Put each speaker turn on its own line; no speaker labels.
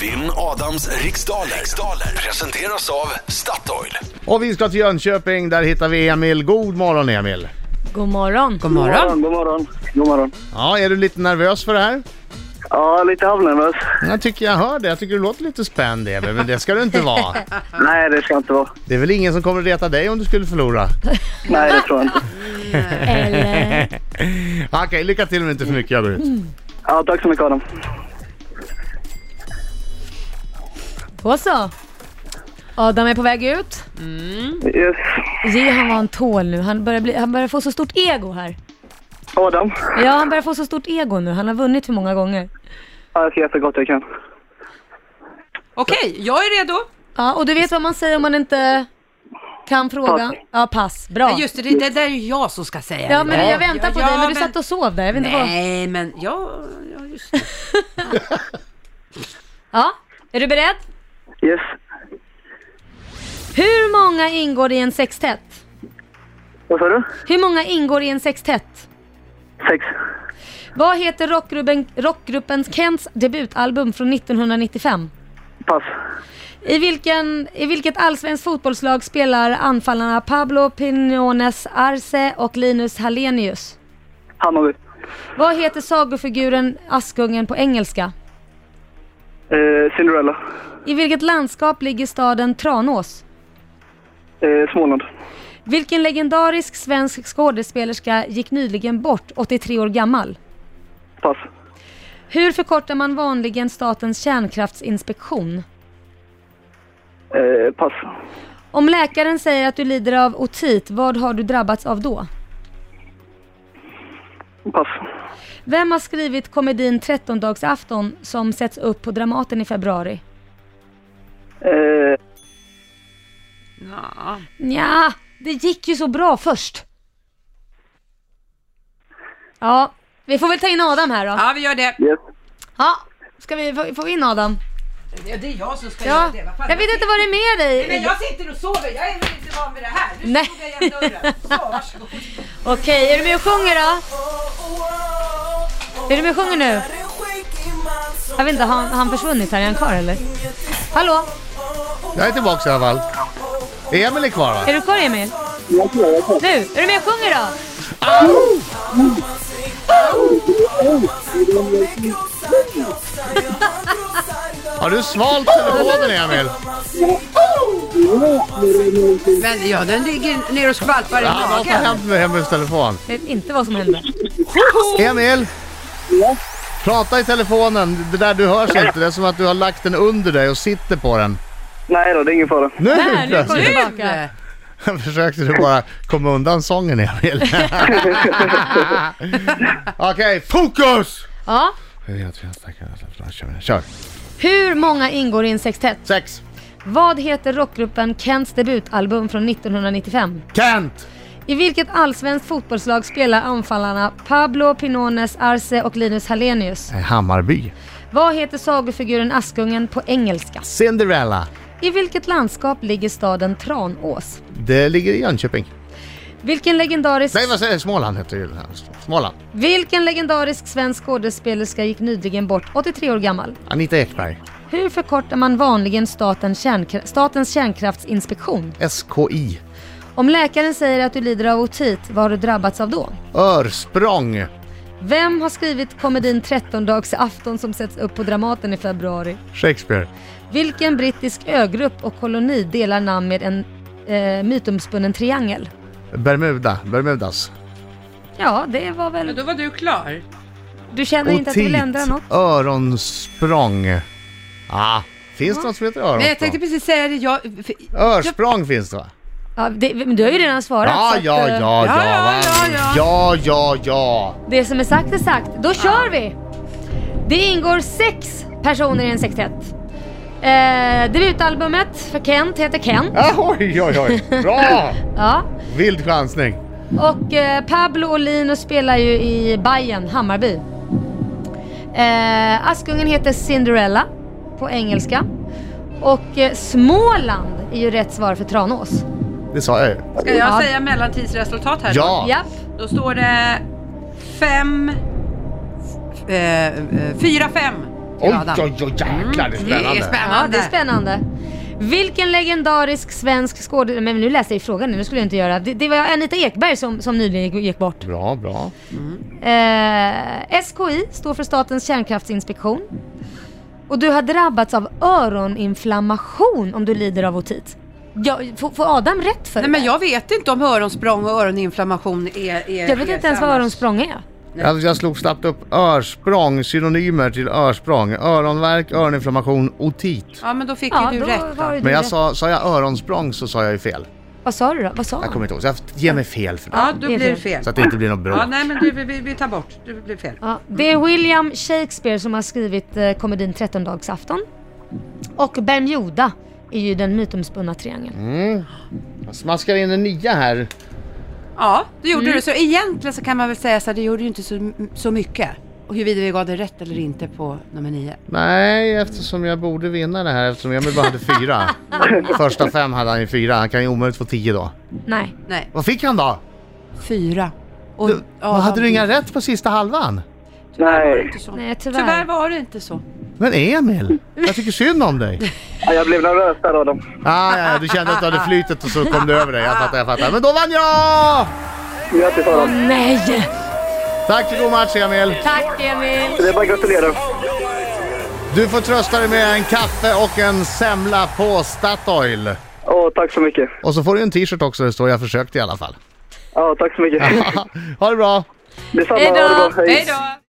Vinn Adams riksdaler. riksdaler presenteras av Statoil.
Och vi ska till Jönköping, där hittar vi Emil. God morgon Emil!
God morgon.
God morgon.
God morgon. God morgon.
Ja, är du lite nervös för det här?
Ja, lite halvnervös.
Jag tycker jag hör det. Jag tycker du låter lite spänd Emil, men det ska du inte vara.
Nej, det ska inte vara.
Det är väl ingen som kommer reta dig om du skulle förlora?
Nej, det tror jag inte.
Eller?
Okej, lycka till men inte för mycket. Jag går ut.
Ja, tack så mycket Adam.
Då så. Adam är på väg ut.
Yes.
Ge han vad han tål nu. Han börjar, bli, han börjar få så stort ego här.
Adam,
Ja, han börjar få så stort ego nu. Han har vunnit för många gånger.
ja, jag ska göra så gott jag kan.
Okej, jag är redo.
Ja, och du vet vad man säger om man inte kan frågan?
Pass.
Ja, pass. Bra.
Ja, Just det, det där är ju jag som ska säga
Ja,
det.
men jag väntar på
Ja,
dig, men du
men-
satt och sov där. Jag vet inte vad.
Nej, men ja, ja just det.
Ja, är du beredd?
Yes.
Hur många ingår i en sextett?
Vad sa du?
Hur många ingår i en sextett?
Sex.
Vad heter rockgruppen, rockgruppen Kents debutalbum från 1995?
Pass.
I, vilken, I vilket allsvenskt fotbollslag spelar anfallarna Pablo Pinones Arce och Linus Hallenius?
Hammarby.
Vad heter sagofiguren Askungen på engelska?
Eh, Cinderella.
I vilket landskap ligger staden Tranås?
Eh, Småland.
Vilken legendarisk svensk skådespelerska gick nyligen bort, 83 år gammal?
Pass.
Hur förkortar man vanligen Statens kärnkraftsinspektion?
Eh, pass.
Om läkaren säger att du lider av otit, vad har du drabbats av då?
Pass.
Vem har skrivit komedin 13-dagsafton som sätts upp på Dramaten i februari?
Eh,
Ja.
Ja, det gick ju så bra först. Ja, vi får väl ta in Adam här då.
ja, vi gör det.
yes.
Ja, ska vi få- få in Adam?
Ja, det är jag som ska
Ja,
göra det. Vad fan,
jag vet inte vad det är med
Men
dig.
jag sitter och sover, jag är väl inte van vid det här. Nu
Nej.
slog jag igen dörren. Så, varsågod.
Okej, är du med och sjunger då? Är du med och sjunger nu? Jag vet inte, har han- har han försvunnit här? Är han kvar eller? Hallå,
Jag är tillbaks i alla fall. Emil är kvar va?
är du kvar Emil?
Jag tror jag kan.
Nu, är du med och sjunger då?
Har du svalt telefonen Emil?
Men ja, den ligger ner och skvalpar i
Ja, något har
magen.
hänt med Emils telefon.
Jag vet inte vad som hände.
Emil! Prata i telefonen, det där du hörs inte. Det är som att du har lagt den under dig och sitter på den.
Nej då, det är ingen fara.
Nu
Där, nu kom du
plötsligt!
tillbaka.
Försökte du bara komma undan sången Emil? Okej, fokus!
Ja.
Kör!
Hur många ingår i en sextett?
Sex!
Vad heter rockgruppen Kents debutalbum från 1995?
Kent!
I vilket allsvenskt fotbollslag spelar anfallarna Pablo Pinones Arce och Linus Hallenius?
Eh, Hammarby.
Vad heter sagofiguren Askungen på engelska?
Cinderella.
I vilket landskap ligger staden Tranås?
Det ligger i Jönköping.
Vilken legendarisk,
Nej, vad säger jag? Småland heter det. ju. Småland.
vilken legendarisk svensk skådespelerska gick nyligen bort, 83 år gammal?
Anita Ekberg.
Hur förkortar man vanligen staten kärnkra- Statens kärnkraftsinspektion?
SKI.
Om läkaren säger att du lider av otit, vad har du drabbats av då?
Örsprång.
Vem har skrivit komedin 13-dagsafton som sätts upp på Dramaten i februari?
Shakespeare.
Vilken brittisk ögrupp och koloni delar namn med en eh, mytomspunnen triangel?
Bermuda. Bermudas.
Ja, det var
Men
väl...
då var du klar.
Du känner inte att du vill ändra något?
Öronsprång. Ah, finns det något som heter öronsprång?
Men jag tänkte precis säga det, jag... för-
Örsprång finns det va?
Ja, det, men du har ju redan svarat.
Ja,
så att,
ja,
eh,
ja, ja,
ja,
va?
ja, ja.
ja, ja, ja.
Det som är sagt är sagt. Då kör vi! Det ingår sex personer i en sextett. Eh, debutalbumet för Kent heter Kent.
Ah, Oj, oj, oj. Bra!
Ja.
Vild chansning.
Och eh, Pablo och Linus spelar ju i Bayern, Hammarby. Eh, Askungen heter Cinderella på engelska. Och eh, Småland är ju rätt svar för Tranås.
Det sa jag ju.
Ska jag
Ja.
säga mellantidsresultat här?
Ja.
Japp.
Då står det fem... Eh, eh, fyra, fem. i
Oj,
raden.
oj, oj, jäklar det är
Mm, det
spännande.
är spä-
Ja,
Spännande.
det är spännande. Vilken legendarisk svensk skådespelare... Men nu läste jag ju frågan, nu skulle jag inte göra. Det, det var Anita Ekberg som, som nyligen gick, gick bort.
Bra, bra.
Eh, SKI står för Statens kärnkraftsinspektion. Och du har drabbats av öroninflammation om du lider av otit. Ja, får, får Adam rätt för
Nej
det?
men jag vet inte om öronsprång och öroninflammation är, är
Jag vet inte ens vad öronsprång är.
Jag, jag slog snabbt upp örsprång, synonymer till örsprång. Öronvärk, öroninflammation, otit.
Ja men då fick
Ja,
ju du
då
rätt.
var
va?
ju du
Men jag
rätt.
sa, sa jag öronsprång så sa jag ju fel.
Vad sa du då? Vad sa
Jag
han?
kommer inte ihåg, så jag ger mig fel för det.
Ja, då
Det är
blir det
fel.
fel.
Så att det inte blir något bråk.
Ja, nej men du, vi- vi, vi tar bort. Du blir fel.
Ja, det är William Shakespeare som har skrivit eh, komedin 13-dagsafton. Och Bermuda är ju den mytomspunna triangeln.
Jag smaskar in en nia här.
Ja, det
Mm.
gjorde du. Så egentligen så kan man väl säga så här, det gjorde ju inte så, så mycket. Och huruvida vi gav det rätt eller inte på nummer nio.
Nej, eftersom jag borde vinna det här eftersom Emil bara hade fyra. Första fem hade han ju fyra, han kan ju omöjligt få tio då.
Nej.
Nej,
Vad fick han då?
fyra. Och,
Du,
ja,
hade du
de-
inga rätt på sista halvan?
Tyvärr var det
Nej.
inte så.
Nej, tyvärr.
Tyvärr var det inte så.
Men Emil, jag tycker synd om dig.
Ja, jag blev nervös där Adam.
Ah, ja, ja, du kände att du hade flytet och så kom du över dig. Jag fattar, jag fattar. Men då vann jag!
Grattis Adam.
Nej!
Tack för god match Emil.
Tack Emil!
Det är bara att gratulera.
Du får trösta dig med en kaffe och en semla på Statoil.
Åh, tack så mycket.
Och så får du en t-shirt också där det står jag försökte i alla fall.
Ja, tack så mycket.
ha det bra!
Detsamma.
Hej då.
ha det bra.
Hej då.